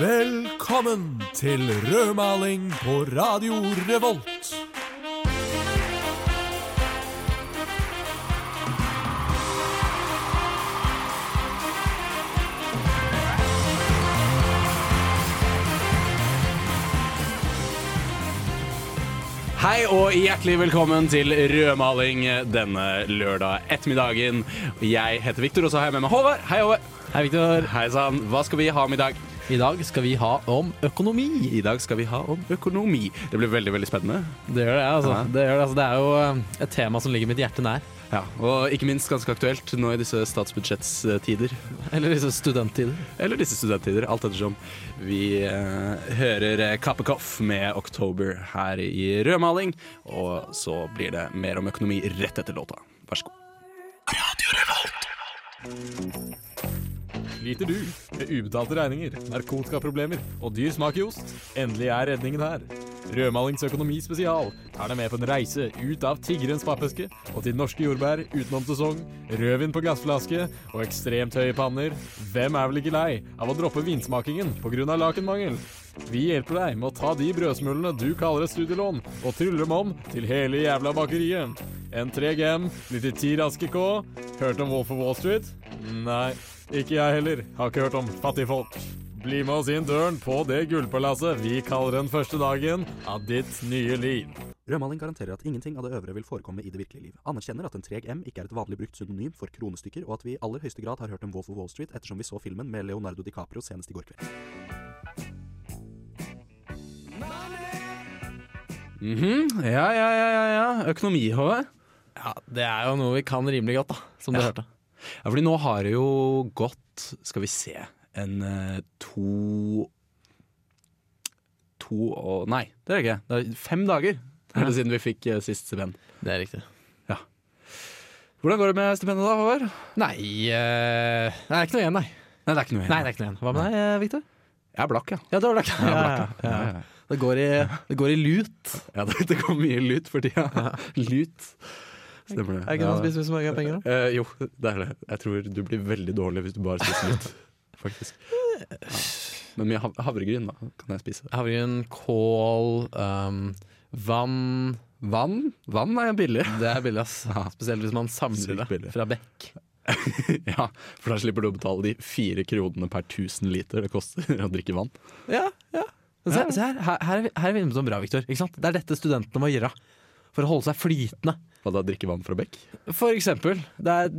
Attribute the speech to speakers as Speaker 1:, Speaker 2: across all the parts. Speaker 1: Velkommen til rødmaling på Radio Revolt.
Speaker 2: Hei og hjertelig velkommen til Rødmaling denne lørdag ettermiddagen. Jeg heter Viktor, og så har jeg med meg Håvard. Hei, Håvard.
Speaker 3: Hei, Viktor.
Speaker 2: Hei sann. Hva skal vi ha om i dag?
Speaker 3: I dag skal vi ha om økonomi.
Speaker 2: I dag skal vi ha om økonomi. Det blir veldig veldig spennende.
Speaker 3: Det gjør det, altså.
Speaker 2: Ja.
Speaker 3: Det, gjør det, altså. det er jo eh, et tema som ligger mitt hjerte nær.
Speaker 2: Ja, Og ikke minst ganske aktuelt nå i disse statsbudsjettstider.
Speaker 3: Eller liksom studenttider.
Speaker 2: Eller disse studenttider, alt ettersom. Vi eh, hører eh, Kappekoff med 'Oktober' her i rødmaling. Og så blir det mer om økonomi rett etter låta. Vær så god.
Speaker 4: Sliter du med ubetalte regninger, narkotikaproblemer og dyr smak i ost? Endelig er redningen her. Rødmalings økonomi spesial tar deg med på en reise ut av tiggerens pappeske og til norske jordbær utenom sesong, rødvin på glassflaske og ekstremt høye panner. Hvem er vel ikke lei av å droppe vinsmakingen pga. lakenmangel? Vi hjelper deg med å ta de brødsmulene du kaller et studielån, og trylle dem om til hele jævla bakeriet. En 3GM, 9010 raske K. Hørt om Wolf of Wall Street? Nei, ikke jeg heller. Har ikke hørt om fattigfolk. Bli med oss inn døren på det gullpalasset vi kaller den første dagen av ditt nye liv.
Speaker 5: Rødmaling garanterer at ingenting av det øvre vil forekomme i det virkelige liv. Anerkjenner at en treg M ikke er et vanlig brukt pseudonym for kronestykker, og at vi i aller høyeste grad har hørt om Wolf of Wall Street ettersom vi så filmen med Leonardo DiCaprio senest i går kveld.
Speaker 2: Mhm. Ja, ja, ja, ja, ja. Økonomi, Håvard.
Speaker 3: Ja, det er jo noe vi kan rimelig godt, da. Som du
Speaker 2: Ja.
Speaker 3: hørte.
Speaker 2: Ja, fordi nå har det jo gått, skal vi se, en eh, to To og Nei, det er det ikke. Det er fem dager er det siden vi fikk eh, sist stipend.
Speaker 3: Det er riktig.
Speaker 2: Hvordan går det med stipendet da, Håvard?
Speaker 3: Nei, eh, nei, det er ikke noe igjen, nei.
Speaker 2: Nei, det er ikke noe
Speaker 3: Nei, det er ikke noe igjen. Hva med deg, eh, Victor?
Speaker 2: Jeg er blakk, ja.
Speaker 3: Ja, det var det. Ja, ja, ja. Det, går i, det går i lut.
Speaker 2: ja det, det går mye lut for tida. Lut. Stemmer det.
Speaker 3: Er ikke det man spiser så mange penger, da?
Speaker 2: Eh, jo, det er det. Jeg tror du blir veldig dårlig hvis du bare spiser lut, faktisk. Ja. Men mye hav- havregryn, da, kan jeg spise.
Speaker 3: Havregryn, kål, ehm, vann.
Speaker 2: Vann? Vann er billig.
Speaker 3: Det er billig, ass. Spesielt hvis man samler
Speaker 2: Sykt billig.
Speaker 3: det fra bekk.
Speaker 2: Ja, for da slipper du å betale de fire kronene per tusen liter det koster å drikke vann.
Speaker 3: Ja, ja. Men Se, se her, her, her, er vi- her er vi inne på noe bra, Victor. Ikke sant? Det er dette studentene må gjøre for å holde seg flytende.
Speaker 2: Hva da, drikke vann fra bekk?
Speaker 3: For eksempel. Det er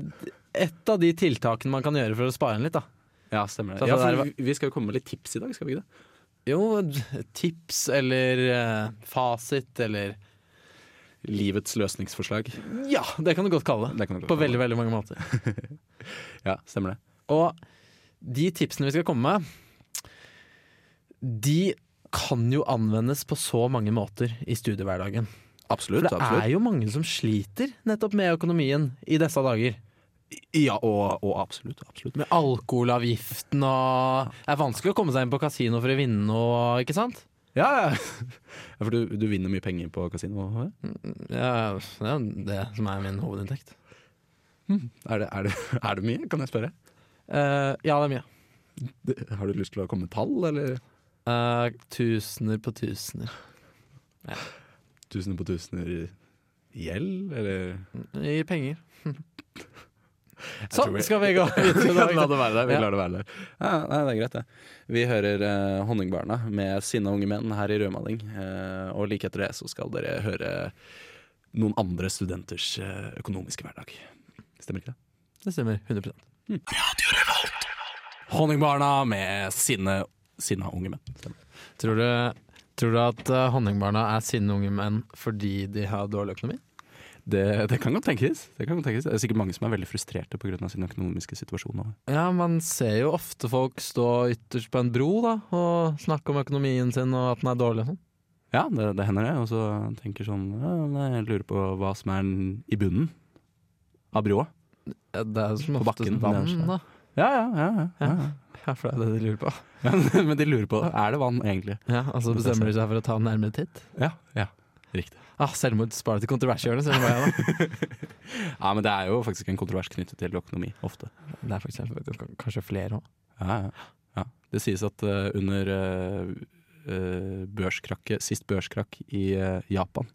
Speaker 3: et av de tiltakene man kan gjøre for å spare en litt. Da.
Speaker 2: Ja, stemmer
Speaker 3: det.
Speaker 2: Ja,
Speaker 3: Så det
Speaker 2: for
Speaker 3: der-
Speaker 2: vi- vi skal jo komme med litt tips i dag, skal vi ikke det?
Speaker 3: Jo, d- tips eller eh, fasit eller
Speaker 2: Livets løsningsforslag. Det
Speaker 3: Ja, det kan du godt kalle det.
Speaker 2: kan du godt
Speaker 3: På
Speaker 2: kalle
Speaker 3: veldig, veldig mange måter.
Speaker 2: det. Ja, stemmer det.
Speaker 3: Og de tipsene vi skal komme med, de kan jo anvendes på så mange måter i studiehverdagen.
Speaker 2: Absolutt.
Speaker 3: For det er jo mange som sliter nettopp med økonomien i disse dager.
Speaker 2: Ja, og, og absolutt. absolutt.
Speaker 3: Med alkoholavgiften og Det er vanskelig å komme seg inn på kasino for å vinne noe, ikke sant?
Speaker 2: Ja, ja. Ja, For du, du vinner mye penger på kasino? Håvard?
Speaker 3: Ja, det er jo det som er min hovedinntekt.
Speaker 2: Er det, er, det, er det mye, kan jeg spørre?
Speaker 3: Eh, ja, det er mye.
Speaker 2: Det- Har du lyst til å komme med tall, eller?
Speaker 3: Eh, tusener på tusener.
Speaker 2: Tusener på tusener i gjeld, eller?
Speaker 3: I penger.
Speaker 2: tror
Speaker 3: Sånn
Speaker 2: vi-
Speaker 3: skal vi gå
Speaker 2: Vi
Speaker 3: videre. i
Speaker 2: lar
Speaker 3: dag.
Speaker 2: det være der. Vi
Speaker 3: Ja.
Speaker 2: lar det være der. Ja, nei, det er greit, det. Vi hører eh, Honningbarna med sinna unge menn her i Rødmaling. eh, og like etter det så skal dere høre noen andre studenters eh, økonomiske hverdag. Stemmer ikke det?
Speaker 3: Det stemmer. 100
Speaker 2: Honningbarna med sinne sinna unge menn. Stemmer.
Speaker 3: Tror du, tror du at eh, honningbarna er sinne unge menn fordi de har dårlig økonomi?
Speaker 2: Det, det kan godt tenkes. Det kan godt tenkes. Det er sikkert mange som er veldig frustrerte pga. sin økonomiske situasjon. nå.
Speaker 3: Ja, man ser jo ofte folk stå ytterst på en bro da, og snakke om økonomien sin og at den er dårlig og sånn.
Speaker 2: Ja, det, det hender det. Og så tenker sånn ja, nei, Jeg lurer på hva som er den- i bunnen av broa.
Speaker 3: Ja, Det er jo som
Speaker 2: På
Speaker 3: oftest
Speaker 2: bakken, nederst der.
Speaker 3: vann, da.
Speaker 2: Ja, ja, ja. ja, ja, ja.
Speaker 3: Ja, for det er det de lurer på.
Speaker 2: Men, men de lurer på er det vann egentlig.
Speaker 3: Ja, altså bestemmer de seg for å ta en nærmere titt.
Speaker 2: Ja, ja. Riktig.
Speaker 3: Ah, selvmord sparer til kontroversihjørnet, ser du hva jeg da.
Speaker 2: Ja, men det er jo faktisk en kontrovers knyttet til økonomi, ofte.
Speaker 3: Det er faktisk helt- kanskje flere òg.
Speaker 2: Ja, ja. ja. Det sies at eh, under eh, eh, børskrakket, sist børskrakk i eh, Japan,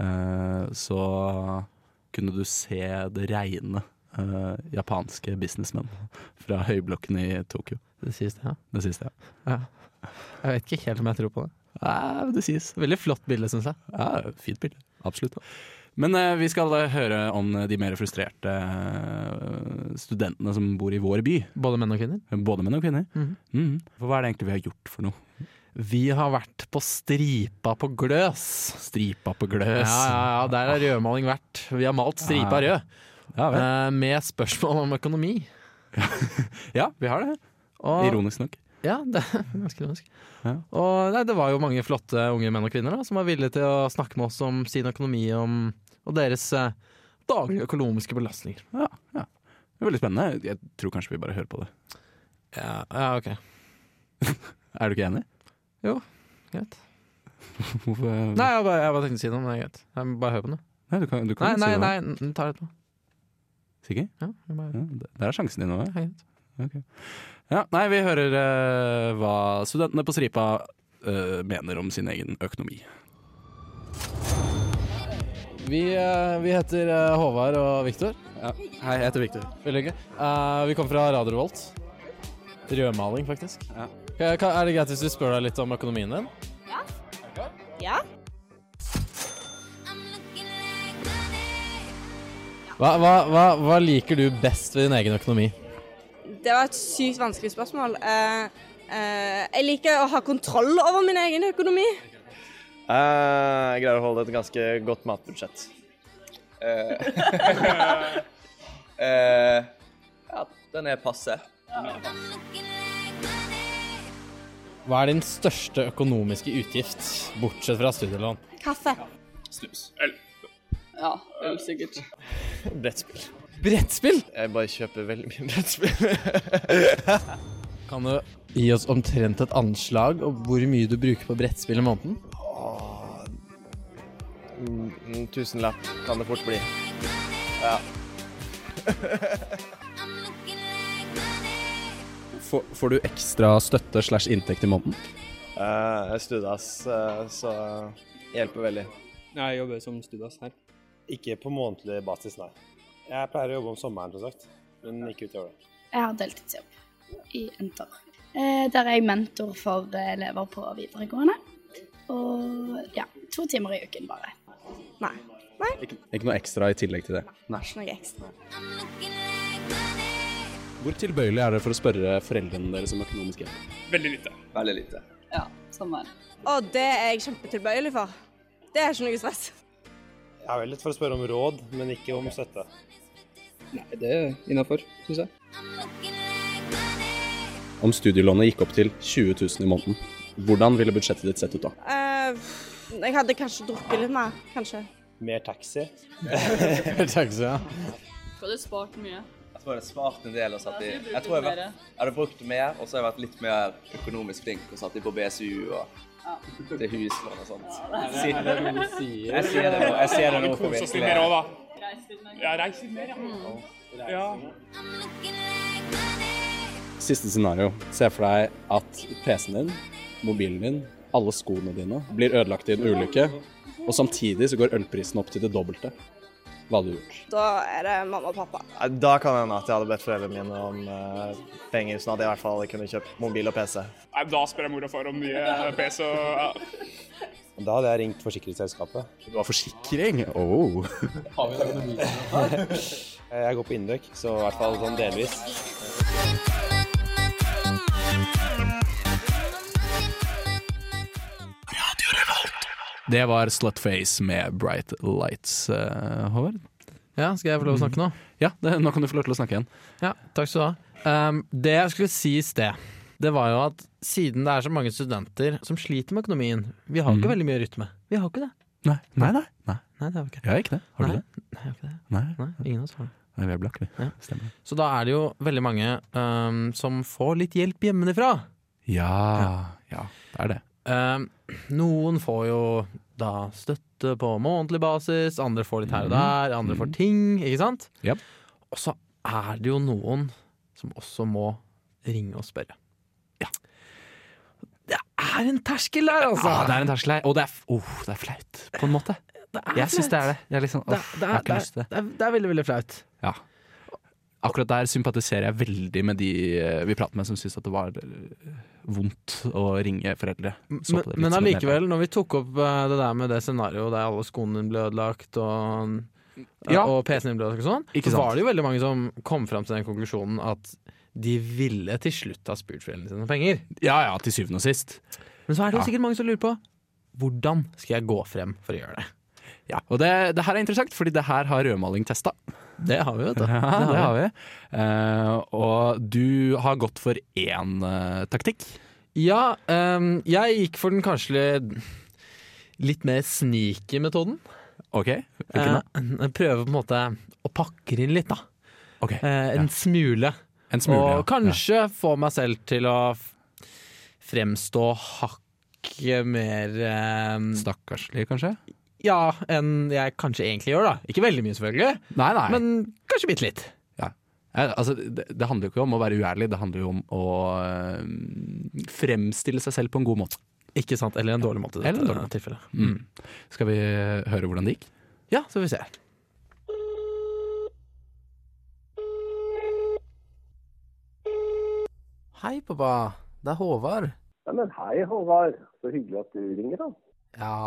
Speaker 2: eh, så kunne du se det regne eh, japanske businessmenn fra høyblokken i Tokyo.
Speaker 3: Det sies det, ja.
Speaker 2: Det sies det, ja.
Speaker 3: ja. Jeg vet ikke helt om jeg tror på det.
Speaker 2: Ja, det sies.
Speaker 3: Veldig flott bilde, syns jeg.
Speaker 2: Ja, fint bilde. Absolutt. Men eh, vi skal eh, høre om eh, de mer frustrerte eh, studentene som bor i vår by.
Speaker 3: Både menn og kvinner.
Speaker 2: Både menn og kvinner.
Speaker 3: Mhm.
Speaker 2: Mhm. For hva er det egentlig vi har gjort for noe?
Speaker 3: Vi har vært på Stripa på Gløs.
Speaker 2: Stripa på
Speaker 3: Ja,
Speaker 2: gløs.
Speaker 3: ja, ja, der har rødmaling vært. Vi har malt stripa
Speaker 2: Ja.
Speaker 3: rød
Speaker 2: Ja, vel.
Speaker 3: eh, med spørsmål om økonomi.
Speaker 2: ja, vi har det.
Speaker 3: Og,
Speaker 2: Ironisk nok.
Speaker 3: Ja, det er ganske ironisk.
Speaker 2: Ja.
Speaker 3: Og nei, det var jo mange flotte unge menn og kvinner da, som var villige til å snakke med oss om sin økonomi om, og deres eh, daglige økonomiske belastninger.
Speaker 2: Ja, ja. Det er veldig spennende. Jeg tror kanskje vi bare hører på det.
Speaker 3: Ja, ja ok.
Speaker 2: Er du ikke enig?
Speaker 3: Greit.
Speaker 2: Hvorfor?
Speaker 3: Nei, jeg bare, jeg bare tenkte å si noe, men det er greit. Jeg må bare hør på den. du.
Speaker 2: Nei, du kan, du
Speaker 3: Nei,
Speaker 2: kan
Speaker 3: nei,
Speaker 2: si det.
Speaker 3: nei, n- ta det etterpå.
Speaker 2: Sikker?
Speaker 3: Ja, jeg bare,
Speaker 2: Ja, d- der er sjansen din nå.
Speaker 3: ja, greit.
Speaker 2: Ja, nei, vi hører eh, hva studentene på Stripa eh, mener om sin egen økonomi.
Speaker 3: Vi, eh, vi heter eh, Håvard og Viktor.
Speaker 2: Hei, jeg heter Victor.
Speaker 3: Veldig hyggelig. Eh, vi kommer fra Radio Revolt. Rødmaling, faktisk.
Speaker 2: Ja.
Speaker 3: Ka- ka- Er det greit hvis vi spør deg litt om økonomien din?
Speaker 6: Ja.
Speaker 3: Hva, hva, hva, hva liker du best ved din egen økonomi?
Speaker 6: Det var et sykt vanskelig spørsmål. Eh, eh, jeg liker å ha kontroll over min egen økonomi.
Speaker 7: Eh, Jeg greier å holde et ganske godt matbudsjett. Eh, eh, ja, den er passe.
Speaker 3: Hva er din største økonomiske utgift, bortsett fra studielån?
Speaker 6: Kaffe.
Speaker 7: Brettspill.
Speaker 3: Brettspill!
Speaker 7: Jeg bare kjøper veldig mye brettspill.
Speaker 3: Kan du gi oss omtrent et anslag om hvor mye du bruker på brettspill i måneden?
Speaker 7: En tusenlapp kan det fort bli.
Speaker 2: Får, får du ekstra støtte slash inntekt i måneden?
Speaker 7: Eh, Jeg studerer, ass, eh, så hjelper veldig.
Speaker 8: Jeg jobber som studas her.
Speaker 9: Ikke på månedlig basis, nei. Jeg pleier å jobbe om sommeren, som sagt. Men ikke utover det.
Speaker 10: Jeg har deltidsjobb i Enter. Eh, Der er jeg mentor for eh, elever på videregående. Og ja, to timer i uken bare.
Speaker 6: Nei,
Speaker 2: Ikke noe ekstra i tillegg til det.
Speaker 6: ikke noe ekstra.
Speaker 2: Hvor tilbøyelig er dere for å spørre foreldrene deres om økonomisk hjelp?
Speaker 7: Veldig lite.
Speaker 10: Ja, samme.
Speaker 6: Og det er jeg kjempetilbøyelig for. Det er ikke noe stress.
Speaker 9: Jeg er vel litt for å spørre om råd, men ikke om støtte.
Speaker 8: Nei, det er innafor, syns jeg.
Speaker 2: Om studielånet gikk opp til 20 000 i måneden, hvordan ville budsjettet ditt sett ut da?
Speaker 6: Eh, jeg hadde kanskje drukket litt mer, kanskje.
Speaker 9: Mer taxi.
Speaker 10: Skal du spart mye?
Speaker 7: Jeg tror jeg har spart en del og satt i Jeg tror jeg, har vært- jeg hadde brukt mer, og så har jeg vært litt mer økonomisk flink og satt i på BSU og til huslån og sånt. Siden det er noe du sier. Jeg ser det nå. Jeg ser det nå på virkelig.
Speaker 2: Siste scenario. Se for deg at PC-en din, mobilen din, alle skoene dine blir ødelagt i en ulykke, og samtidig så går ølprisen opp til det dobbelte. Hva hadde du gjort?
Speaker 6: Da er det mamma og pappa.
Speaker 7: Nei, Da kan det hende at jeg hadde bedt foreldrene mine om eh, penger, sånn at jeg i hvert fall kunne kjøpt mobil og PC.
Speaker 11: Nei, da spør jeg mor og far om mye PC og ja.
Speaker 9: Da hadde jeg ringt forsikringsselskapet.
Speaker 2: Det var forsikring? Oh.
Speaker 9: Jeg går på Indøk, så i hvert fall sånn delvis.
Speaker 2: Det var Slutface med Bright Lights, eh, Håvard.
Speaker 3: Ja, skal jeg få lov å snakke nå?
Speaker 2: Ja, det, nå kan du få lov til å snakke igjen.
Speaker 3: Ja, takk skal du ha. Ehm, det jeg skulle si i sted, det var jo at siden det er så mange studenter som sliter med økonomien Vi har ikke
Speaker 2: Mhm.
Speaker 3: veldig mye rytme. Vi har ikke det.
Speaker 2: Nei, nei, nei.
Speaker 3: Nei, det har vi ikke.
Speaker 2: Jeg har ikke det. Har du
Speaker 3: Nei.
Speaker 2: det?
Speaker 3: Nei, vi har ikke det.
Speaker 2: Nei.
Speaker 3: Nei, ingen av oss har det.
Speaker 2: nei, vi er blakk, vi.
Speaker 3: Ja.
Speaker 2: Stemmer det.
Speaker 3: Så da er det jo veldig mange ehm, som får litt hjelp hjemmefra.
Speaker 2: Ja, ja, det er det.
Speaker 3: Ehm, noen får jo da støtte på månedlig basis, andre får litt her og der, andre får ting, ikke sant? Og så er det jo noen som også må ringe og spørre. Det er en terskel der, altså!
Speaker 2: Ah,
Speaker 3: Ja, det er en terskel her, og det er, f- oh, det er flaut, på en måte. jeg syns det er det. Jeg er litt
Speaker 2: Det er- liksom,
Speaker 3: sånn, «Åh,
Speaker 2: det er-
Speaker 3: jeg har ikke lyst til det. Det er, veldig, veldig flaut. Ja.
Speaker 2: Akkurat der sympatiserer jeg veldig med de eh, vi prater med som syns at det var eh, vondt å ringe foreldre. Så på
Speaker 3: Men,
Speaker 2: det litt
Speaker 3: men
Speaker 2: som en
Speaker 3: allikevel, når vi tok opp eh, det der med det scenarioet der alle skoene dine ble ødelagt og, eh,
Speaker 2: Ja.
Speaker 3: og PC-en din ble ødelagt og sånn,
Speaker 2: Ikke
Speaker 3: så
Speaker 2: sant.
Speaker 3: var det jo veldig mange som kom fram til den konklusjonen at de ville til slutt ha spurt foreldrene sine om penger. Ja, ja, til syvende og sist. Men så er det
Speaker 2: Ja.
Speaker 3: jo sikkert mange som lurer på hvordan skal jeg gå frem for å gjøre det.
Speaker 2: Ja, og det, det her er interessant, fordi det her har rødmaling testa.
Speaker 3: Det har vi, vet du.
Speaker 2: Ah, Ja, det, har vi. Eh, og du har gått for én eh, taktikk.
Speaker 3: Ja, ehm, jeg gikk for den kanskje litt- litt mer sneaky metoden.
Speaker 2: Ok,
Speaker 3: Eh,
Speaker 2: hvilken
Speaker 3: prøve på en måte å pakke det inn litt, da. Eh, en smule.
Speaker 2: En smule, ja.
Speaker 3: Og kanskje få meg selv til å f- fremstå hakket mer um,
Speaker 2: Stakkarslig, kanskje?
Speaker 3: Ja, enn jeg kanskje egentlig gjør, da. Ikke veldig mye, selvfølgelig,
Speaker 2: Nei, nei.
Speaker 3: men kanskje bitte litt.
Speaker 2: Eh, altså, det, det handler jo ikke om å være uærlig, det handler jo om å eh, fremstille seg selv på en god måte.
Speaker 3: Ikke sant, Eller en dårlig måte. i
Speaker 2: Eller en
Speaker 3: dette
Speaker 2: dårlig måte.
Speaker 3: tilfellet.
Speaker 2: Mm. Skal vi eh, høre hvordan det gikk?
Speaker 3: Ja, så får vi se. Hei, pappa. Det er Håvard.
Speaker 12: Ja, men hei, Håvard. Så hyggelig at du ringer, da.
Speaker 13: Ja,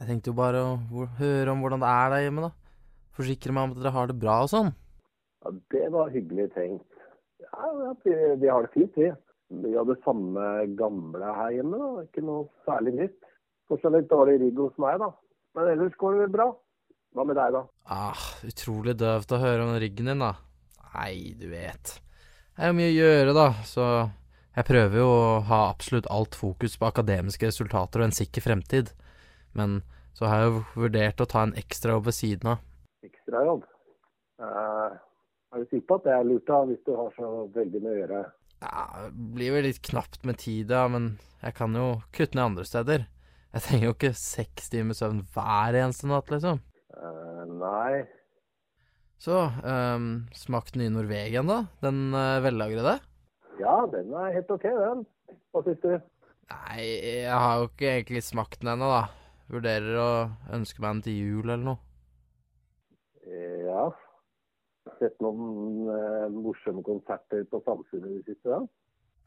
Speaker 13: jeg tenkte jo bare å hvor- høre om hvordan det er der hjemme, da. Forsikre meg om at dere har det bra og sånn.
Speaker 12: Ja, Det var hyggelig tenkt. Ja, ja, vi, vi har det fint, vi. Vi har det samme gamle her hjemme, da. Ikke noe særlig nytt. Fortsatt litt dårlig rygg hos meg, da. Men ellers går det vel bra. Hva med deg, da?
Speaker 13: Ah, utrolig døvt å høre om ryggen din, da. Nei, du vet. Det er jo mye å gjøre, da, så jeg prøver jo å ha absolutt alt fokus på akademiske resultater og en sikker fremtid. Men så har jeg jo vurdert å ta en ekstrajobb ved siden av.
Speaker 12: Ekstrajobb. Eh, er du sikker på at det er lurt, da, hvis du har så veldig med å gjøre?
Speaker 13: Ja, blir vel litt knapt med tid, ja, men jeg kan jo kutte ned andre steder. Jeg trenger jo ikke seks timer søvn hver eneste natt, liksom.
Speaker 12: nei.
Speaker 13: Så, um, smak den nye Norvegien, da. Den eh, vellagrede.
Speaker 12: Ja, den er helt OK, den. Hva syns du?
Speaker 13: Nei, jeg har jo ikke egentlig smakt den ennå, da. Vurderer å ønske meg den til jul eller noe.
Speaker 12: Eh, Ja. Sett noen eh, morsomme konserter på Samfunnet i det siste, da?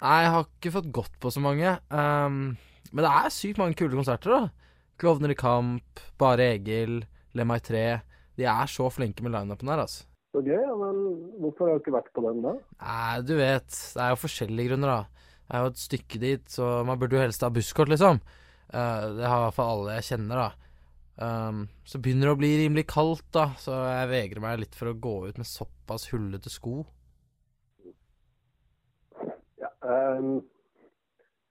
Speaker 13: Nei, jeg har ikke fått gått på så mange. ehm, men det er sykt mange kule konserter, da. Klovner i kamp, Bare Egil, Lem meg 3. De er så flinke med lineupen her, altså.
Speaker 12: Så gøy, ja, men hvorfor har du ikke vært på den da?
Speaker 13: Nei, du vet, det er jo forskjellige grunner, da. Det er jo et stykke dit, så man burde jo helst ha busskort, liksom. Eh, det har i hvert fall alle jeg kjenner, da. Ehm, så begynner det å bli rimelig kaldt, da, så jeg vegrer meg litt for å gå ut med såpass hullete sko.
Speaker 12: Ja, ehm,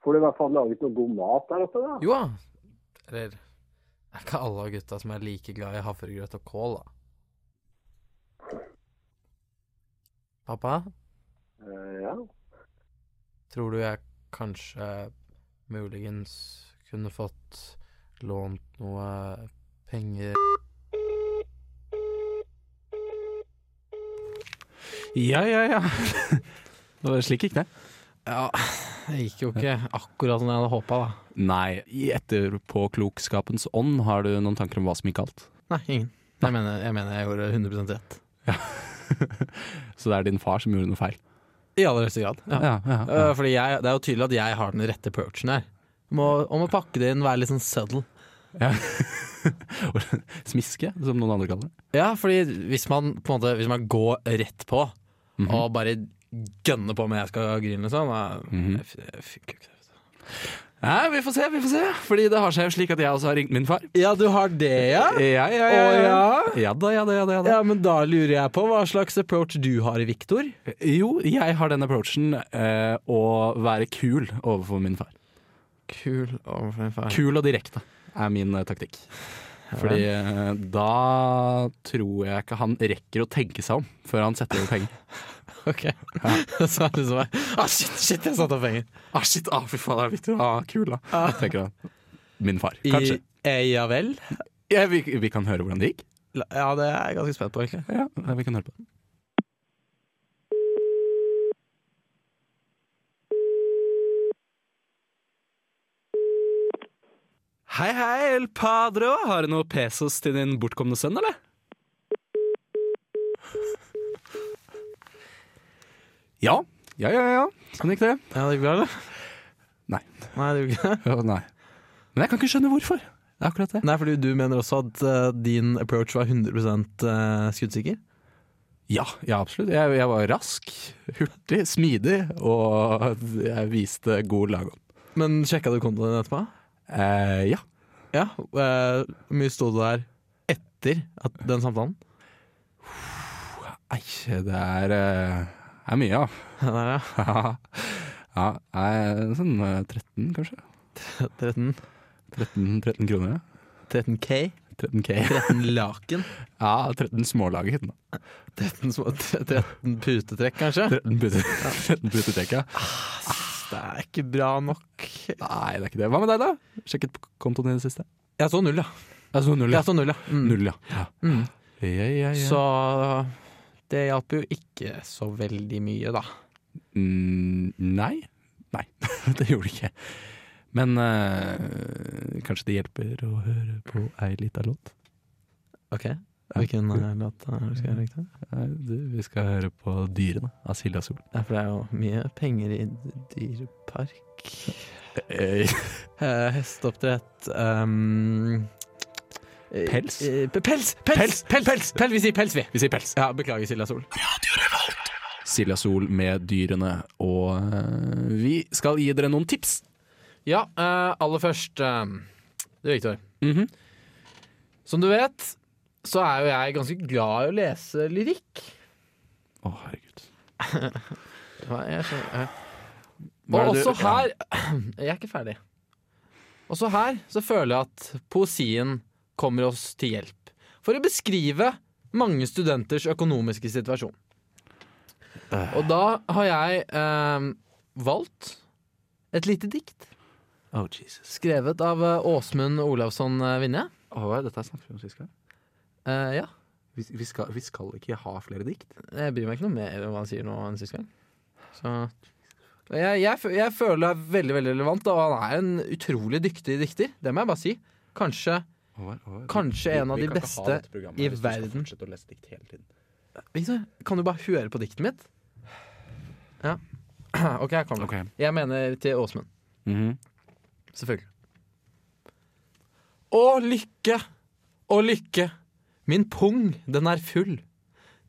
Speaker 12: får du i hvert fall laget noe god mat der oppe, da?
Speaker 13: Jo da. Eller det er ikke alle av gutta som er like glad i havregrøt og kål, da. Pappa,
Speaker 12: Eh, ja.
Speaker 13: tror du jeg kanskje muligens kunne fått lånt noe penger
Speaker 2: Ja, ja, ja. Det var slik gikk det.
Speaker 3: Ja, det gikk jo ikke akkurat som jeg hadde håpa, da.
Speaker 2: Nei, i etterpåklokskapens ånd, har du noen tanker om hva som gikk galt?
Speaker 3: Nei, ingen. Jeg mener jeg, mener jeg gjorde 100 rett.
Speaker 2: Så det er din far som gjorde noe feil?
Speaker 3: I aller høyeste grad. Ja.
Speaker 2: Ja, ja, ja.
Speaker 3: Eh, Fordi jeg, det er jo tydelig at jeg har den rette perchen her. Om å, om å pakke det inn, være litt sånn subtle.
Speaker 2: Ja. Smiske, som noen andre kaller det.
Speaker 3: Ja, fordi hvis man på en måte Hvis man går rett på
Speaker 2: Mhm.
Speaker 3: og bare gønner på med jeg skal grine, liksom da- jeg f- jeg fikk jo ikke det.
Speaker 2: Nei, vi får se, vi får se. Fordi det har seg jo slik at jeg også har ringt min far.
Speaker 3: Ja, du har det, ja?
Speaker 2: Ja, ja, ja.
Speaker 3: Å, ja.
Speaker 2: ja da, ja da, ja da. Ja, da.
Speaker 3: Ja, men da lurer jeg på hva slags approach du har, Viktor.
Speaker 2: Jo, jeg har den approachen eh, å være kul overfor min far.
Speaker 3: Kul overfor en far.
Speaker 2: Kul og direkte er min eh, taktikk. Fordi eh, da tror jeg ikke han rekker å tenke seg om før han setter over penger.
Speaker 3: Ok. Så er det liksom bare, Ah, shit, shit, jeg satte av penger.
Speaker 2: Ah, shit, ah, fy faen, det er Victor. Ah, kul, da. Tenker han. min far. Kanskje.
Speaker 3: eh, ja vel?
Speaker 2: Ja, vi, vi kan høre hvordan det gikk.
Speaker 3: Ja, det er jeg ganske spent på, egentlig.
Speaker 2: Ja, vi kan høre på det. Hei, hei, El Padro. Har du noe pesos til din bortkomne sønn, eller? Ja. Ja, ja, ja. Kan ikke det?
Speaker 3: Ja, det gikk bra, eller?
Speaker 2: Nei.
Speaker 3: Nei, det gjorde ikke det.
Speaker 2: nei. Men jeg kan ikke skjønne hvorfor. Det er akkurat det.
Speaker 3: Nei, fordi du mener også at eh, din approach var 100 eh, skuddsikker?
Speaker 2: Ja, ja absolutt. Jeg, jeg var rask, hurtig, smidig, og jeg viste god lagånd.
Speaker 3: Men sjekka du kontoen din etterpå?
Speaker 2: Eh, ja.
Speaker 3: Ja, eh, Hvor mye sto det der etter at den samtalen?
Speaker 2: Nei, det er, eh, det er mye,
Speaker 3: ja.
Speaker 2: ja. ja nei, sånn eh, 13, kanskje.
Speaker 3: 13?
Speaker 2: 13, 13 kroner, ja.
Speaker 3: 13K?
Speaker 2: 13K.
Speaker 3: 13 laken?
Speaker 2: Ja, 13 smålag hit nå.
Speaker 3: 13, små, 13 putetrekk, kanskje?
Speaker 2: 13 putetrekk, ja.
Speaker 3: Det er ikke bra nok.
Speaker 2: Nei, det er ikke det. Hva med deg, da? Sjekket på kontoen din i det siste?
Speaker 3: Jeg så null, ja.
Speaker 2: Jeg så Altså, null,
Speaker 3: Jeg så null, ja. Mm.
Speaker 2: Null, ja. ja.
Speaker 3: Mm.
Speaker 2: Ja, ja, ja.
Speaker 3: Så det hjalp jo ikke så veldig mye, da.
Speaker 2: Mm, nei. Nei, det gjorde det ikke. Men eh, kanskje det hjelper å høre på ei lita låt?
Speaker 3: Ok, Hvilken eh, låt er det du skal legge til?
Speaker 2: Nei, du, vi skal høre på Dyrene av Silja Sol.
Speaker 3: Ja, for det er jo mye penger i dyrepark. Eh, Hesteoppdrett ehm, eh,
Speaker 2: Pels?
Speaker 3: eh, Pels! Pels! Pels! Pels! Pels! Vi sier pels, vi.
Speaker 2: Vi sier pels.
Speaker 3: Ja, Beklager, Silja Sol.
Speaker 2: Silja Sol med Dyrene, og eh, vi skal gi dere noen tips.
Speaker 3: Ja, eh, aller først eh, Du, Viktor. Mhm. Som du vet, så er jo jeg ganske glad i å lese lyrikk.
Speaker 2: Å, herregud.
Speaker 3: Ja, jeg skjønner, eh.
Speaker 2: Hva er
Speaker 3: Og
Speaker 2: det du-
Speaker 3: også her Jeg er ikke ferdig. Også her så føler jeg at poesien kommer oss til hjelp for å beskrive mange studenters økonomiske situasjon.
Speaker 2: Eh.
Speaker 3: Og da har jeg eh, valgt et lite dikt.
Speaker 2: Oh, Jesus.
Speaker 3: Skrevet av eh, Åsmund Olavsson eh, Vinje.
Speaker 2: dette snakket vi om sist gang.
Speaker 3: Eh, ja.
Speaker 2: Vi, skal, ikke ha flere dikt.
Speaker 3: Jeg bryr meg ikke noe mer om hva han sier nå enn sist gang. Så jeg, jeg, fø- jeg føler det er veldig veldig relevant, da, og han er en utrolig dyktig dikter. Det må jeg bare si. Kanskje, kanskje en av de beste i verden.
Speaker 2: å lese dikt hele tiden.
Speaker 3: Victor, kan du bare høre på diktet mitt? Ja. OK, jeg kommer.
Speaker 2: Ok.
Speaker 3: Jeg mener til Åsmund. Selvfølgelig. Å, lykke, å lykke, min pung, den er full.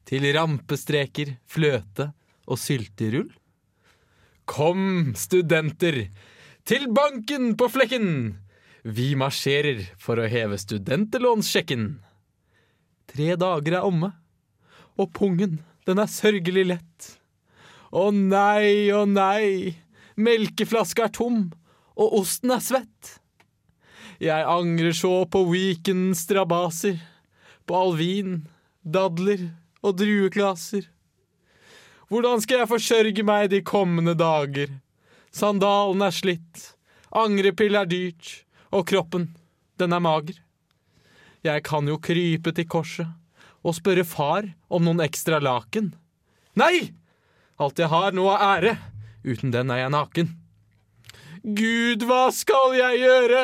Speaker 3: Til rampestreker, fløte og sylterull. Kom, studenter, til banken på flekken! Vi marsjerer for å heve studentlånssjekken. Tre dager er omme, og pungen, den er sørgelig lett. Å nei, å nei, melkeflaska er tom, og osten er svett. Jeg angrer så på weekendens strabaser, på all vin, dadler og drueklaser. Hvordan skal jeg forsørge meg de kommende dager? Sandalen er slitt, angrepille er dyrt, og kroppen, den er mager. Jeg kan jo krype til korset og spørre far om noen ekstra laken. Nei! Alt jeg har nå er ære, uten den er jeg naken. Gud, hva skal jeg gjøre?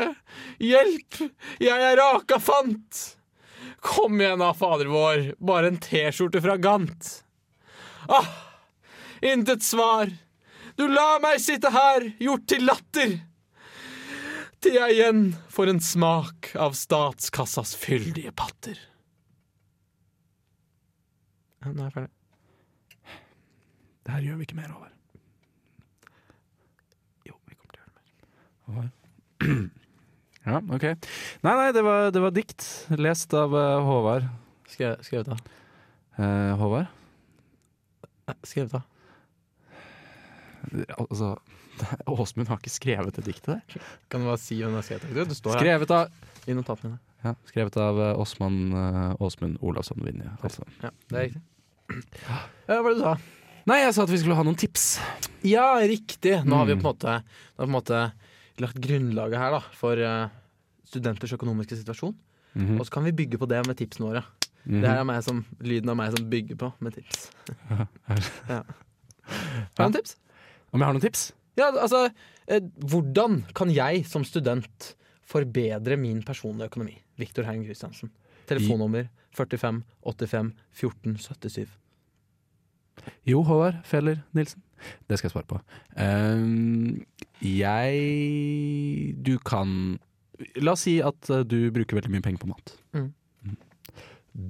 Speaker 3: Hjelp, jeg er raka fant! Kom igjen da, Fader vår, bare en T-skjorte fra Gant. Ah, intet svar. Du lar meg sitte her, gjort til latter. Til jeg igjen får en smak av statskassas fyldige patter. Ja, Nå er jeg ferdig.
Speaker 2: Det her gjør vi ikke mer over. Jo, vi kommer til å gjøre det mer. ja, ok. Nei, nei, det var, det var dikt lest av eh, Håvard.
Speaker 3: Skrevet, skrevet av.
Speaker 2: Eh, Håvard?
Speaker 3: Skrevet av.
Speaker 2: Altså, det- Åsmund har ikke skrevet det diktet der.
Speaker 3: Kan du bare si hvem det er skrevet av? Det står her.
Speaker 2: Skrevet av
Speaker 3: I notatene mine.
Speaker 2: ja, Skrevet av eh, Åsmann eh, Åsmund Olavsson Vinje, altså.
Speaker 3: Ja, det er riktig. Ja, hva var det du sa?
Speaker 2: Nei, jeg sa at vi skulle ha noen tips.
Speaker 3: Mm. Ja, riktig. Nå har vi på en måte, nå har vi på en måte lagt grunnlaget her da, for eh,
Speaker 14: studenters økonomiske situasjon.
Speaker 2: Mhm.
Speaker 14: Og så kan vi bygge på det med tipsene våre.
Speaker 2: Mhm.
Speaker 14: Det her er meg som, lyden av meg som bygger på med tips. ja. Har du noen tips?
Speaker 2: Om jeg har noen tips?
Speaker 14: Ja, altså eh, Hvordan kan jeg som student forbedre min personlige økonomi? Viktor Heim Christiansen. Telefonnummer 45 85 14 77.
Speaker 2: Jo, Håvard Feller Nilsen. Det skal jeg svare på. Ehm, jeg Du kan La oss si at eh, du bruker veldig mye penger på mat.
Speaker 14: Mm.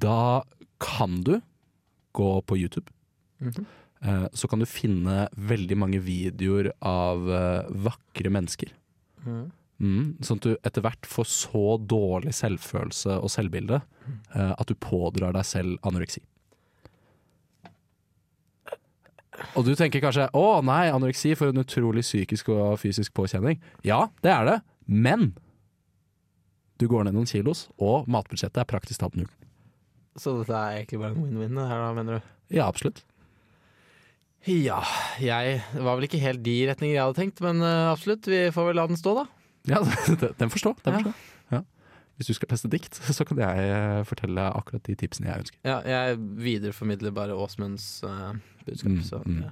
Speaker 2: Da kan du gå på YouTube.
Speaker 14: Mhm.
Speaker 2: Eh, Så kan du finne veldig mange videoer av eh, vakre mennesker.
Speaker 14: Mhm.
Speaker 2: Mm, sånn at du etter hvert får så dårlig selvfølelse og selvbilde eh, at du pådrar deg selv anoreksi. Og du tenker kanskje å nei, anoreksi for en utrolig psykisk og fysisk påkjenning. Ja, det er det, men du går ned noen kilos, og matbudsjettet er praktisk talt null.
Speaker 14: Så dette er egentlig bare en win-win, det her da, mener du?
Speaker 2: Ja, absolutt.
Speaker 3: Ja, jeg Det var vel ikke helt de retninger jeg hadde tenkt, men eh, absolutt. Vi får vel la den stå, da.
Speaker 2: Ja, den forstår. Den forstår. Ja. Hvis du skal teste dikt, så kan jeg eh, fortelle akkurat de tipsene jeg ønsker.
Speaker 3: Ja, jeg videreformidler bare Åsmunds eh, budskap.
Speaker 2: Mm,
Speaker 3: så,
Speaker 2: mm, Eh,
Speaker 3: ja.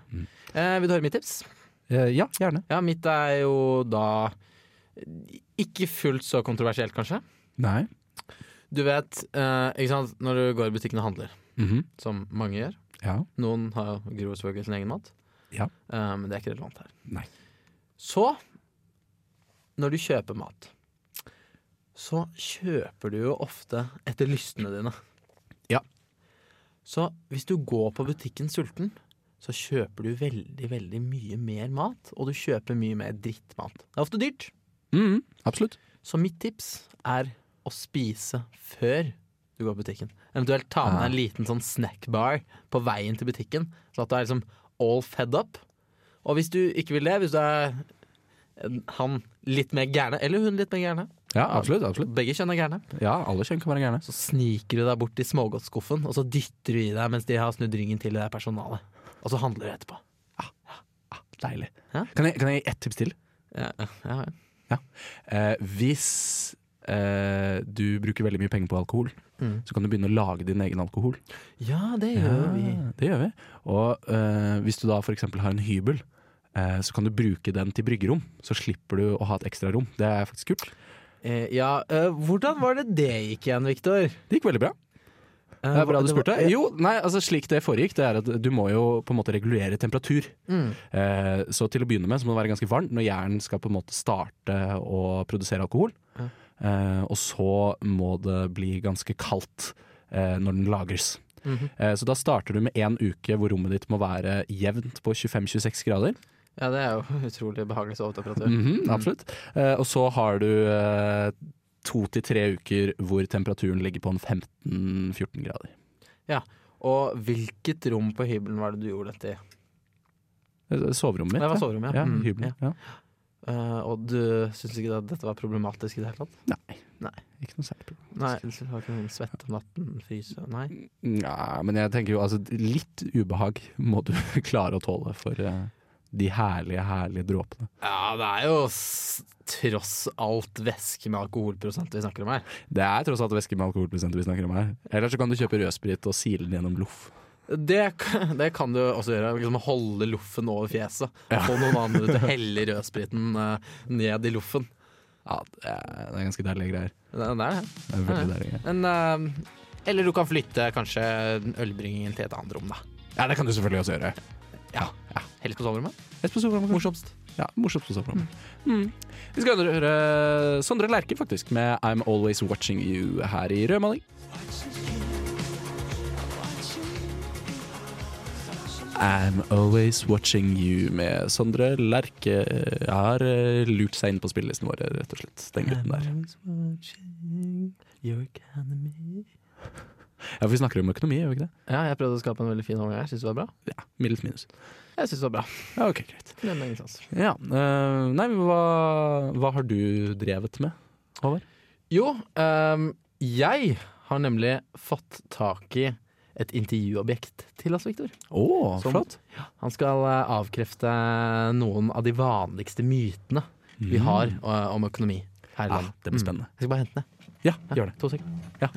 Speaker 3: Eh, vil du høre mitt tips?
Speaker 2: ja, gjerne.
Speaker 3: Ja, Mitt er jo da eh, ikke fullt så kontroversielt, kanskje.
Speaker 2: Nei.
Speaker 3: Du vet, eh, ikke sant, når du går i butikken og handler,
Speaker 2: Mhm.
Speaker 3: som mange gjør
Speaker 2: Ja.
Speaker 3: Noen har jo- gror selvfølgelig sin egen mat,
Speaker 2: Ja.
Speaker 3: eh, men det er ikke relevant her.
Speaker 2: Nei.
Speaker 3: Så, når du kjøper mat, så kjøper du jo ofte etter lystene dine.
Speaker 2: Ja.
Speaker 3: Så hvis du går på butikken sulten, så kjøper du veldig, veldig mye mer mat, og du kjøper mye mer drittmat. Det er ofte dyrt.
Speaker 2: Mm, absolutt.
Speaker 3: Så mitt tips er å spise før du går på butikken. Eventuelt ta med deg en liten sånn snackbar på veien til butikken, så at du er liksom all fed up. Og hvis du ikke vil det, hvis du er en- han litt mer gærne, eller hun litt mer gærne
Speaker 2: Ja, absolutt, absolutt.
Speaker 3: Begge kjønn er gærne.
Speaker 2: Ja, alle kjønn kan være gærne.
Speaker 3: Så sniker du deg bort til smågodtskuffen, og så dytter du i deg mens de har snudd ryggen til det personalet. Og så handler du etterpå.
Speaker 2: Ah, Deilig. Kan, jeg, kan jeg gi ett tips til?
Speaker 3: Ja,
Speaker 2: Eh, hvis eh, du bruker veldig mye penger på alkohol,
Speaker 3: Mm.
Speaker 2: så kan du begynne å lage din egen alkohol. Ah,
Speaker 3: Ja, det gjør vi.
Speaker 2: Det gjør vi. Og eh, hvis du da f.eks. har en hybel, eh, så kan du bruke den til bryggerom. Så slipper du å ha et ekstra rom. Det er faktisk kult.
Speaker 3: Eh, ja, eh, hvordan var det det gikk igjen, Viktor?
Speaker 2: Det gikk veldig bra. Det er bra du spurte.
Speaker 3: eh,
Speaker 2: Jo, nei, altså slik det foregikk, det er at du må jo på en måte regulere temperatur.
Speaker 3: Mm.
Speaker 2: Eh, så til å begynne med så må det være ganske varmt når hjernen skal på en måte starte å produsere alkohol.
Speaker 3: Ja.
Speaker 2: Eh, og så må det bli ganske kaldt eh, når den lagres.
Speaker 3: Mhm.
Speaker 2: eh, så da starter du med én uke hvor rommet ditt må være jevnt på 25-26 grader.
Speaker 3: Ja, det er jo utrolig behagelig sovetemperatur.
Speaker 2: Mhm,
Speaker 3: Mm.
Speaker 2: absolutt. Eh, og så har du eh, to til tre uker hvor temperaturen ligger på en 15-14 grader.
Speaker 3: Ja, Og hvilket rom på hybelen var det du gjorde dette i?
Speaker 2: Eh, Soverommet mitt.
Speaker 3: Det var soverommet, ja.
Speaker 2: ja.
Speaker 3: Mm,
Speaker 2: hybelen, ja.
Speaker 3: Eh, og du syns ikke at dette var problematisk i det hele tatt?
Speaker 2: Nei.
Speaker 3: Nei.
Speaker 2: Ikke noe særlig problematisk.
Speaker 3: Nei, du har ikke noen svette om natten, fryse Nei.
Speaker 2: Nja, men jeg tenker jo altså litt ubehag må du klare å tåle for eh, de herlige, herlige dråpene.
Speaker 3: Ja, det er jo s tross alt væske med alkoholprosent vi snakker om her.
Speaker 2: Det er tross alt væske med alkoholprosenter vi snakker om her. Eller så kan du kjøpe rødsprit og sile den gjennom loff.
Speaker 3: Det, kan- det kan du også gjøre. Liksom holde loffen over fjeset. Få noen andre til å helle rødspriten eh, ned i loffen.
Speaker 2: Ja, det er, det er ganske deilige greier.
Speaker 3: Det, det er det.
Speaker 2: Det er veldig deilige greier.
Speaker 3: Men, eh, eller du kan flytte kanskje ølbringingen til et annet rom, da.
Speaker 2: Ja, det kan du selvfølgelig også gjøre.
Speaker 3: Ja, Helst på soverommet.
Speaker 2: Helst på soverommet.
Speaker 3: Morsomst.
Speaker 2: Ja, morsomt på soverommet. Vi skal høre Sondre Lerche faktisk med I'm Always Watching You her i Rødmaling. I'm Always Watching You med Sondre Lerche har eh, lurt seg inn på spillelisten vår, rett og slett. Den gutten der. Ja, for vi snakker om økonomi, gjør vi ikke det?
Speaker 3: Ja, jeg prøvde å skape en veldig fin overgang. her. Syns du det var bra?
Speaker 2: Middels minus.
Speaker 3: Jeg syns det var bra.
Speaker 2: Ja, ok, greit.
Speaker 3: Det er en egen sans.
Speaker 2: Ja, eh, nei, men hva, hva har du drevet med, Håvard?
Speaker 3: Jo, ehm, jeg har nemlig fått tak i et intervjuobjekt til oss, Viktor.
Speaker 2: Å,
Speaker 3: Som-
Speaker 2: flott.
Speaker 3: Ja, Han skal eh, avkrefte noen av de vanligste mytene vi
Speaker 2: Mm.
Speaker 3: har eh, om økonomi. her i
Speaker 2: Ah,
Speaker 3: landet.
Speaker 2: det blir spennende.
Speaker 3: Jeg skal bare hente den, jeg.
Speaker 2: Ja, gjør det.
Speaker 3: To sekunder.
Speaker 2: Ja.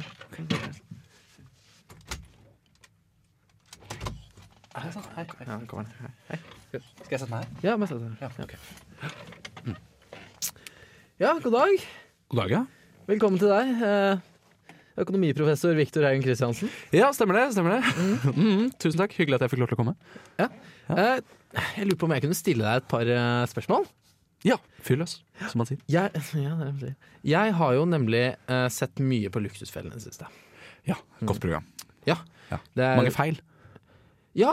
Speaker 3: Er det sant? Hei. Hei. Ja, den kommer den. Hei. Hei.
Speaker 2: sånn? Skal jeg sette meg her?
Speaker 3: Ja, bare sett deg her. Ja, Mm. ja, god dag.
Speaker 2: God dag, ja.
Speaker 3: Velkommen til deg. eh, Økonomiprofessor Viktor Haugen Kristiansen.
Speaker 2: Ja, stemmer det. stemmer det. Mhm, tusen takk. Hyggelig at jeg fikk lov til å komme.
Speaker 3: Eh, Jeg lurer på om jeg kunne stille deg et par eh, spørsmål?
Speaker 2: Ja, fyr løs, som man sier.
Speaker 3: Jeg, ja, det er det man sier. jeg har jo nemlig eh, sett mye på Luksusfellen i det siste.
Speaker 2: Ja, godt program.
Speaker 3: Ja. Det er-
Speaker 2: Mange feil.
Speaker 3: Ja,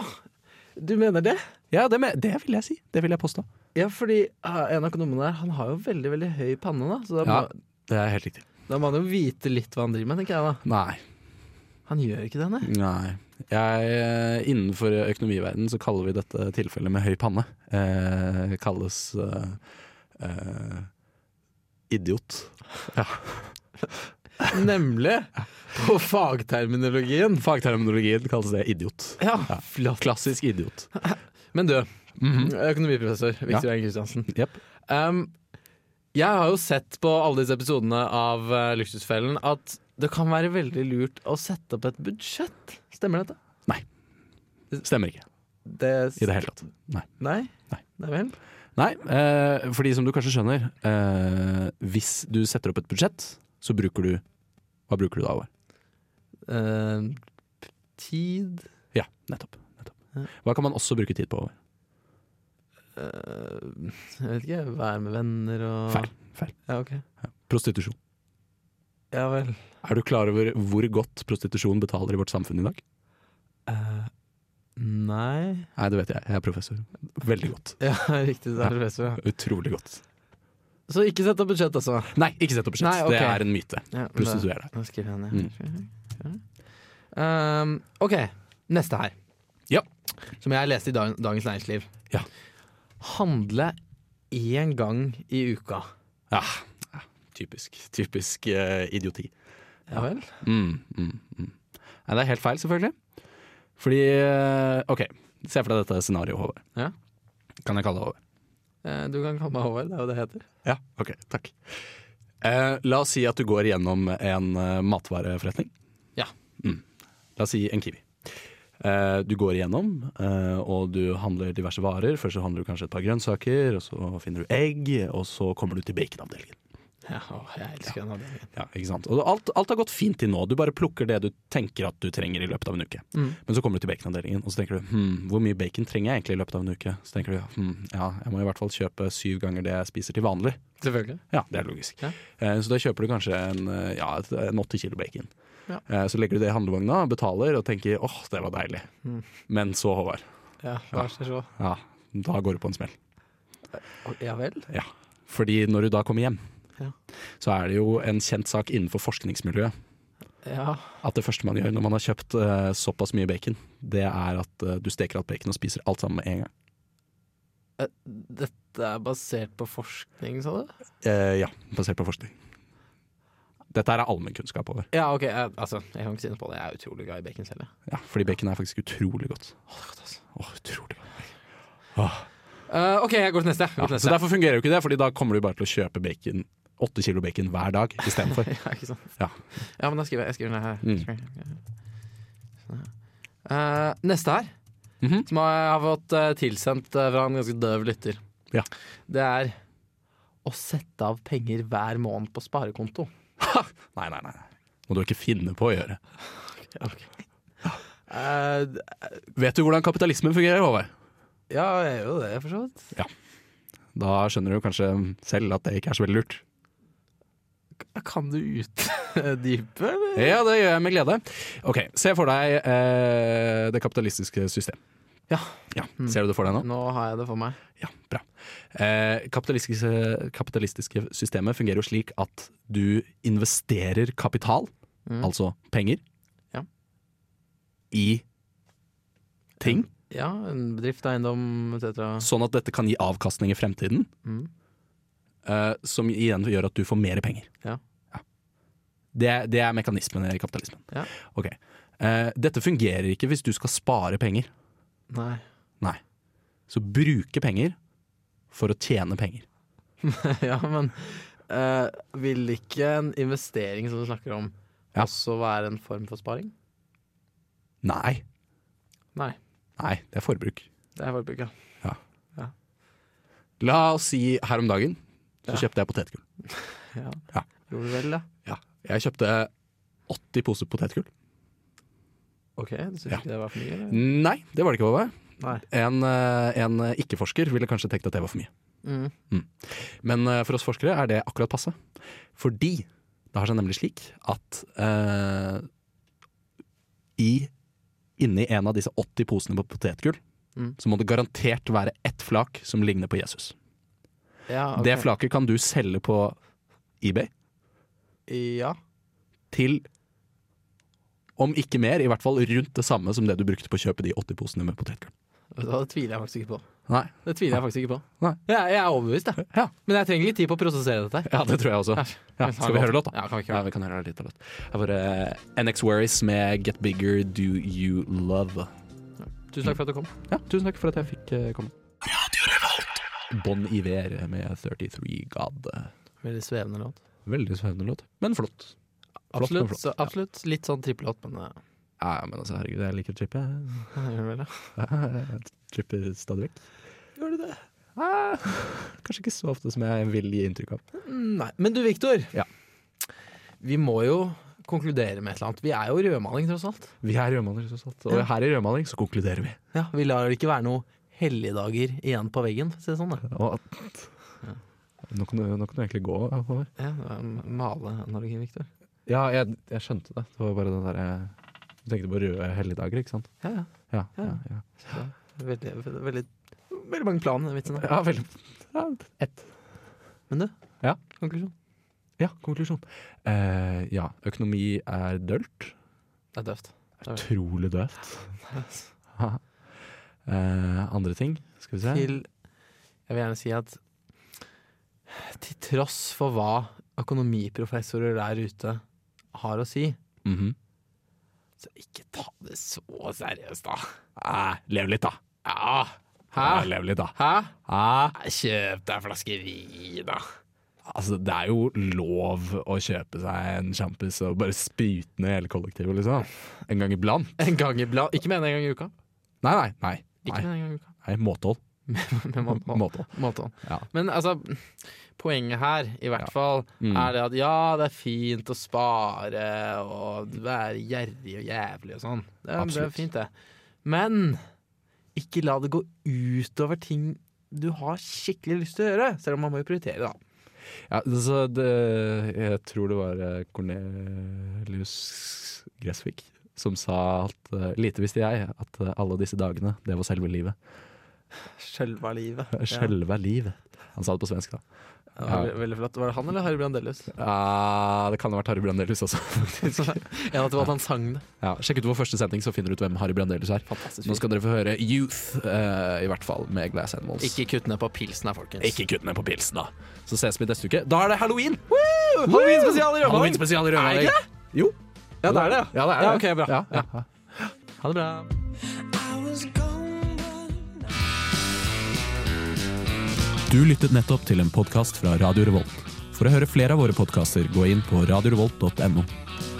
Speaker 3: du mener det?
Speaker 2: Ja, eh, det, men- det vil jeg si. Det vil jeg påstå.
Speaker 3: Ja, fordi eh, en av økonomene der, han har jo veldig, veldig høy panne, da. Så da må,
Speaker 2: Ja, det er helt riktig.
Speaker 3: da må han jo vite litt hva han driver med, tenker jeg da.
Speaker 2: Nei.
Speaker 3: Han gjør ikke det, nei.
Speaker 2: Nei. Jeg, eh, innenfor økonomiverdenen så kaller vi dette tilfellet med høy panne. Eh, kalles eh, eh, idiot. Ja.
Speaker 3: Nemlig! På fagterminologien.
Speaker 2: Fagterminologien kalles det idiot.
Speaker 3: Ja,
Speaker 2: Klassisk idiot.
Speaker 3: Men du, økonomiprofessor Viktor
Speaker 2: Mhm. Ja.
Speaker 3: Eiren Kristiansen.
Speaker 2: Jep.
Speaker 3: Um, jeg har jo sett på alle disse episodene av eh, Luksusfellen at det kan være veldig lurt å sette opp et budsjett. Stemmer dette?
Speaker 2: Stemmer ikke i det hele tatt. Nei.
Speaker 3: Nei? Nei vel?
Speaker 2: Nei, eh, fordi som du kanskje skjønner, eh, hvis du setter opp et budsjett, så bruker du Hva bruker du da, Håvard?
Speaker 3: Eh, tid
Speaker 2: Ja, nettopp. nettopp. Hva kan man også bruke tid på? Håvard?
Speaker 3: Eh, Jeg vet ikke. Være med venner og
Speaker 2: Feil, feil.
Speaker 3: Ja, ok.
Speaker 2: Prostitusjon.
Speaker 3: Ja vel.
Speaker 2: Er du klar over hvor godt prostitusjon betaler i vårt samfunn i dag?
Speaker 3: Eh, nei
Speaker 2: Nei, det vet jeg. Jeg er professor. Veldig godt.
Speaker 3: Ja, riktig. Det er professor, ja.
Speaker 2: Utrolig godt.
Speaker 3: Så ikke sett opp budsjett, altså?
Speaker 2: Nei, ikke sett opp budsjett.
Speaker 3: Nei, ok.
Speaker 2: Det er en myte.
Speaker 3: Ja,
Speaker 2: Prostituer
Speaker 3: da-
Speaker 2: deg.
Speaker 3: Da skriver jeg Mm. ned. Um, OK, neste her.
Speaker 2: Ja.
Speaker 3: Som jeg leste i dag, Dagens Næringsliv.
Speaker 2: Ja.
Speaker 3: Handle én gang i uka.
Speaker 2: Ja. ja, Ah, Typisk. Typisk eh, idioti.
Speaker 3: Ja vel?
Speaker 2: Mm, mm, mm. Nei, det er helt feil, selvfølgelig. Fordi eh, OK, se for deg dette scenarioet, Håvard.
Speaker 3: Ja.
Speaker 2: Kan jeg kalle det Håvard?
Speaker 3: Eh, Du kan kalle meg Håvard, det er jo det det heter.
Speaker 2: Ja, ok, takk. Eh, la oss si at du går gjennom en eh, matvareforretning.
Speaker 3: Ja.
Speaker 2: Mm. La oss si en Kiwi. Eh, du går igjennom, eh, og du handler diverse varer. Først så handler du kanskje et par grønnsaker, og så finner du egg, og så kommer du til baconavdelingen.
Speaker 3: Ja, å, jeg elsker den avdelingen.
Speaker 2: Ja, ikke sant? Og alt, alt har gått fint til nå. Du bare plukker det du tenker at du trenger i løpet av en uke.
Speaker 3: Mm.
Speaker 2: Men så kommer du til baconavdelingen, og så tenker du hm, hvor mye bacon trenger jeg egentlig i løpet av en uke? Så tenker du hm, ja, jeg må i hvert fall kjøpe syv ganger det jeg spiser til vanlig.
Speaker 3: Selvfølgelig.
Speaker 2: Ja, det er logisk.
Speaker 3: Ja.
Speaker 2: Eh, Så da kjøper du kanskje en, eh, ja, et- en 80 kilo bacon.
Speaker 3: Ja.
Speaker 2: Eh, Så legger du det i handlevogna, betaler og tenker åh, det var deilig.
Speaker 3: Mm.
Speaker 2: Men så, Håvard,
Speaker 3: Ja, vær så god.
Speaker 2: ja, da går du på en smell.
Speaker 3: Ja vel?
Speaker 2: Ja. Fordi når du da kommer hjem,
Speaker 3: Ja.
Speaker 2: så er det jo en kjent sak innenfor forskningsmiljøet
Speaker 3: Ja.
Speaker 2: at det første man gjør når man har kjøpt eh, såpass mye bacon, det er at eh, du steker alt bacon og spiser alt sammen med en gang.
Speaker 3: Eh, Dette er basert på forskning, sa du?
Speaker 2: Eh, ja, basert på forskning. Dette her er allmennkunnskap over.
Speaker 3: Ja, OK. eh, Altså, jeg kan ikke si noe på det. Jeg er utrolig glad i bacon selv. jeg.
Speaker 2: Ja, fordi bacon er faktisk utrolig godt.
Speaker 3: altså.
Speaker 2: Åh, utrolig godt. Åh.
Speaker 3: Eh, OK, jeg går til neste. Jeg
Speaker 2: Ja,
Speaker 3: Går til neste.
Speaker 2: så derfor fungerer jo ikke det, Fordi da kommer du bare til å kjøpe bacon åtte kilo bacon hver dag istedenfor.
Speaker 3: ja, ikke sant?
Speaker 2: Ja.
Speaker 3: Ja, men da skriver jeg, jeg skriver ned her.
Speaker 2: Mm.
Speaker 3: Skriver jeg. Sånn. Eh, neste her,
Speaker 2: Mhm.
Speaker 3: som jeg har fått eh, tilsendt eh, fra en ganske døv lytter,
Speaker 2: Ja.
Speaker 3: det er å sette av penger hver måned på sparekonto.
Speaker 2: Nei, nei, nei. nei. Må du ikke finne på å gjøre.
Speaker 3: Eh,
Speaker 2: Vet du hvordan kapitalismen fungerer, Håvard?
Speaker 3: ja, jeg gjør jo det, for så vidt.
Speaker 2: Da skjønner du kanskje selv at det ikke er så veldig lurt.
Speaker 3: Kan du utdype, eller?
Speaker 2: Ja, det gjør jeg med glede. Ok, Se for deg eh, det kapitalistiske system.
Speaker 3: Ja.
Speaker 2: Ser du det for deg nå?
Speaker 3: Nå har jeg det for meg.
Speaker 2: Eh, kapitalistiske, kapitalistiske systemet fungerer jo slik at du investerer kapital,
Speaker 3: Mm.
Speaker 2: altså penger,
Speaker 3: Ja.
Speaker 2: i ting.
Speaker 3: Ja, en bedrift, eiendom, etc.
Speaker 2: sånn at dette kan gi avkastning i fremtiden,
Speaker 3: Mm.
Speaker 2: eh, som igjen gjør at du får mer penger.
Speaker 3: Ja.
Speaker 2: Det, er- det er mekanismen i kapitalismen.
Speaker 3: Ja.
Speaker 2: Ok. Eh, dette fungerer ikke hvis du skal spare penger.
Speaker 3: Nei.
Speaker 2: Nei. Så bruke penger for å tjene penger.
Speaker 3: ja, men Eh, vil ikke en investering som du snakker om, også være en form for sparing?
Speaker 2: Nei.
Speaker 3: Nei.
Speaker 2: Nei, det er forbruk.
Speaker 3: Det er forbruk, ja.
Speaker 2: La oss si her om dagen så kjøpte jeg potetgull.
Speaker 3: ja. Gjorde du vel det?
Speaker 2: Ja. Jeg kjøpte 80 poser potetgull.
Speaker 3: OK, du syns ikke det var for mye? Eller?
Speaker 2: Nei, det var det ikke, Håvard.
Speaker 3: Nei.
Speaker 2: En, eh, en ikke-forsker ville kanskje tenkt at det var for mye.
Speaker 3: Mm.
Speaker 2: Mm. Men eh, for oss forskere er det akkurat passe. Fordi det har seg nemlig slik at eh, i, inni en av disse 80 posene på potetgull,
Speaker 3: Mm.
Speaker 2: så må det garantert være ett flak som ligner på Jesus.
Speaker 3: Ja, ok.
Speaker 2: Det flaket kan du selge på eBay
Speaker 3: Ja.
Speaker 2: til om ikke mer, i hvert fall rundt det samme som det du brukte på å kjøpe de 80 posene med potetgull.
Speaker 3: Vet du hva, Det tviler jeg faktisk ikke på.
Speaker 2: Nei.
Speaker 3: Det tviler jeg faktisk ikke på.
Speaker 2: Nei.
Speaker 3: Jeg, jeg er overbevist, jeg. Men jeg trenger litt tid på å prosessere dette. her.
Speaker 2: Ja, det tror jeg også. Ja, skal vi høre låt, da?
Speaker 3: Ja, kan vi ikke
Speaker 2: Ja, vi kan høre litt av låt. Her var det NX Worries med Get Bigger Do You Love.
Speaker 3: Tusen takk for at du kom.
Speaker 2: Ja, tusen takk for at jeg fikk eh, komme. Bon Iver med 33 God.
Speaker 3: Veldig svevende låt.
Speaker 2: Veldig svevende låt, men flott. Flott, men
Speaker 3: Absolutt.
Speaker 2: flott.
Speaker 3: så, absolutt Litt sånn trippelåt, men eh,
Speaker 2: Ja, men altså, herregud, jeg liker å trippe.
Speaker 3: gjør du vel det?
Speaker 2: Jeg tripper stadig vekk.
Speaker 3: Gjør du det?
Speaker 2: Ah, kanskje ikke så ofte som jeg vil gi inntrykk av.
Speaker 3: Mm, Nei. Men du, Viktor. Vi må jo konkludere med et eller annet. Vi er jo rødmaling, tross alt.
Speaker 2: Vi er rødmaling, tross alt. Og her i Rødmaling så konkluderer vi.
Speaker 3: Ja, Vi lar det ikke være noe helligdager igjen på veggen, for å si det sånn. da
Speaker 2: Og at... Nå kan, du, nå kan du egentlig gå, Håvard.
Speaker 3: Ja, det var en Maleanalogien, Viktor.
Speaker 2: Ja, jeg, jeg skjønte det. Det var bare den derre Du tenkte på røde helligdager, ikke sant?
Speaker 3: Ja, ja.
Speaker 2: Ja, ja,
Speaker 3: Ja.
Speaker 2: ja.
Speaker 3: Så det er Veldig, veldig, veldig, veldig mange plan, den vitsen. da.
Speaker 2: Ja, veldig. Ja, ett.
Speaker 3: Men du,
Speaker 2: Ja.
Speaker 3: konklusjon?
Speaker 2: ja konklusjon. Eh, ja, økonomi er dølt.
Speaker 3: Det er døvt.
Speaker 2: Utrolig døvt. Eh, andre ting, skal vi se.
Speaker 3: Til Jeg vil gjerne si at til tross for hva økonomiprofessorer der ute har å si,
Speaker 2: Mhm.
Speaker 3: så ikke ta det så seriøst, da.
Speaker 2: Eh, lev litt, da.
Speaker 3: Ja.
Speaker 2: Ja,
Speaker 3: Hæ?
Speaker 2: lev litt, da.
Speaker 3: Hæ?
Speaker 2: Ah,
Speaker 3: Ah. Kjøp deg en flaske vin, da.
Speaker 2: altså, det er jo lov å kjøpe seg en sjampis og bare sprute ned hele kollektivet, liksom. En gang iblant.
Speaker 3: En gang iblant. Ikke med en gang i uka.
Speaker 2: Nei, nei. nei.
Speaker 3: Ikke med en gang i uka.
Speaker 2: Nei, måtehold.
Speaker 3: Med måtehold.
Speaker 2: Måtehold.
Speaker 3: Måtehold.
Speaker 2: Ja.
Speaker 3: Men altså, poenget her, i hvert fall,
Speaker 2: Mm.
Speaker 3: er det at ja, det er fint å spare og være gjerrig og jævlig og sånn. Det er, det
Speaker 2: Absolutt.
Speaker 3: er fint, det. Men ikke la det gå utover ting du har skikkelig lyst til å gjøre, selv om man må jo prioritere, da.
Speaker 2: Ja, altså, det, jeg tror det var eh, Cornelius Gressvik som sa at eh, lite visste jeg at eh, alle disse dagene, det var selve livet.
Speaker 3: Skjelve av livet.
Speaker 2: Selve livet. Han sa det på svensk, da.
Speaker 3: Ja. Det var ve- Veldig flott. Var det han eller Harry Brandelius?
Speaker 2: Ja, det kan ha vært Harry Brandelius også, faktisk.
Speaker 3: Ja, det var at han sang det.
Speaker 2: Ja, sjekk ut vår første sending, så finner du ut hvem Harry Brandelius er.
Speaker 3: Fantastisk
Speaker 2: Nå skal dere få høre Youth, eh, i hvert fall, med Glass Animals.
Speaker 3: Ikke kutt ned på pilsen her, folkens.
Speaker 2: Ikke kutt ned på pilsen, da. Så ses vi neste uke. Da er det halloween!
Speaker 3: Halloween-spesial i Rødmaling!
Speaker 2: Halloween-spesial i
Speaker 3: Er det
Speaker 2: Rødmaling.
Speaker 3: ikke
Speaker 2: Jo.
Speaker 3: Ja, det er det,
Speaker 2: Ja, det er det.
Speaker 3: Ja, ok, bra.
Speaker 2: Ja, ja.
Speaker 3: Ha det bra.
Speaker 15: Du lyttet nettopp til en podkast fra Radio Revolt. For å høre flere av våre podkaster, gå inn på radiorevolt.no.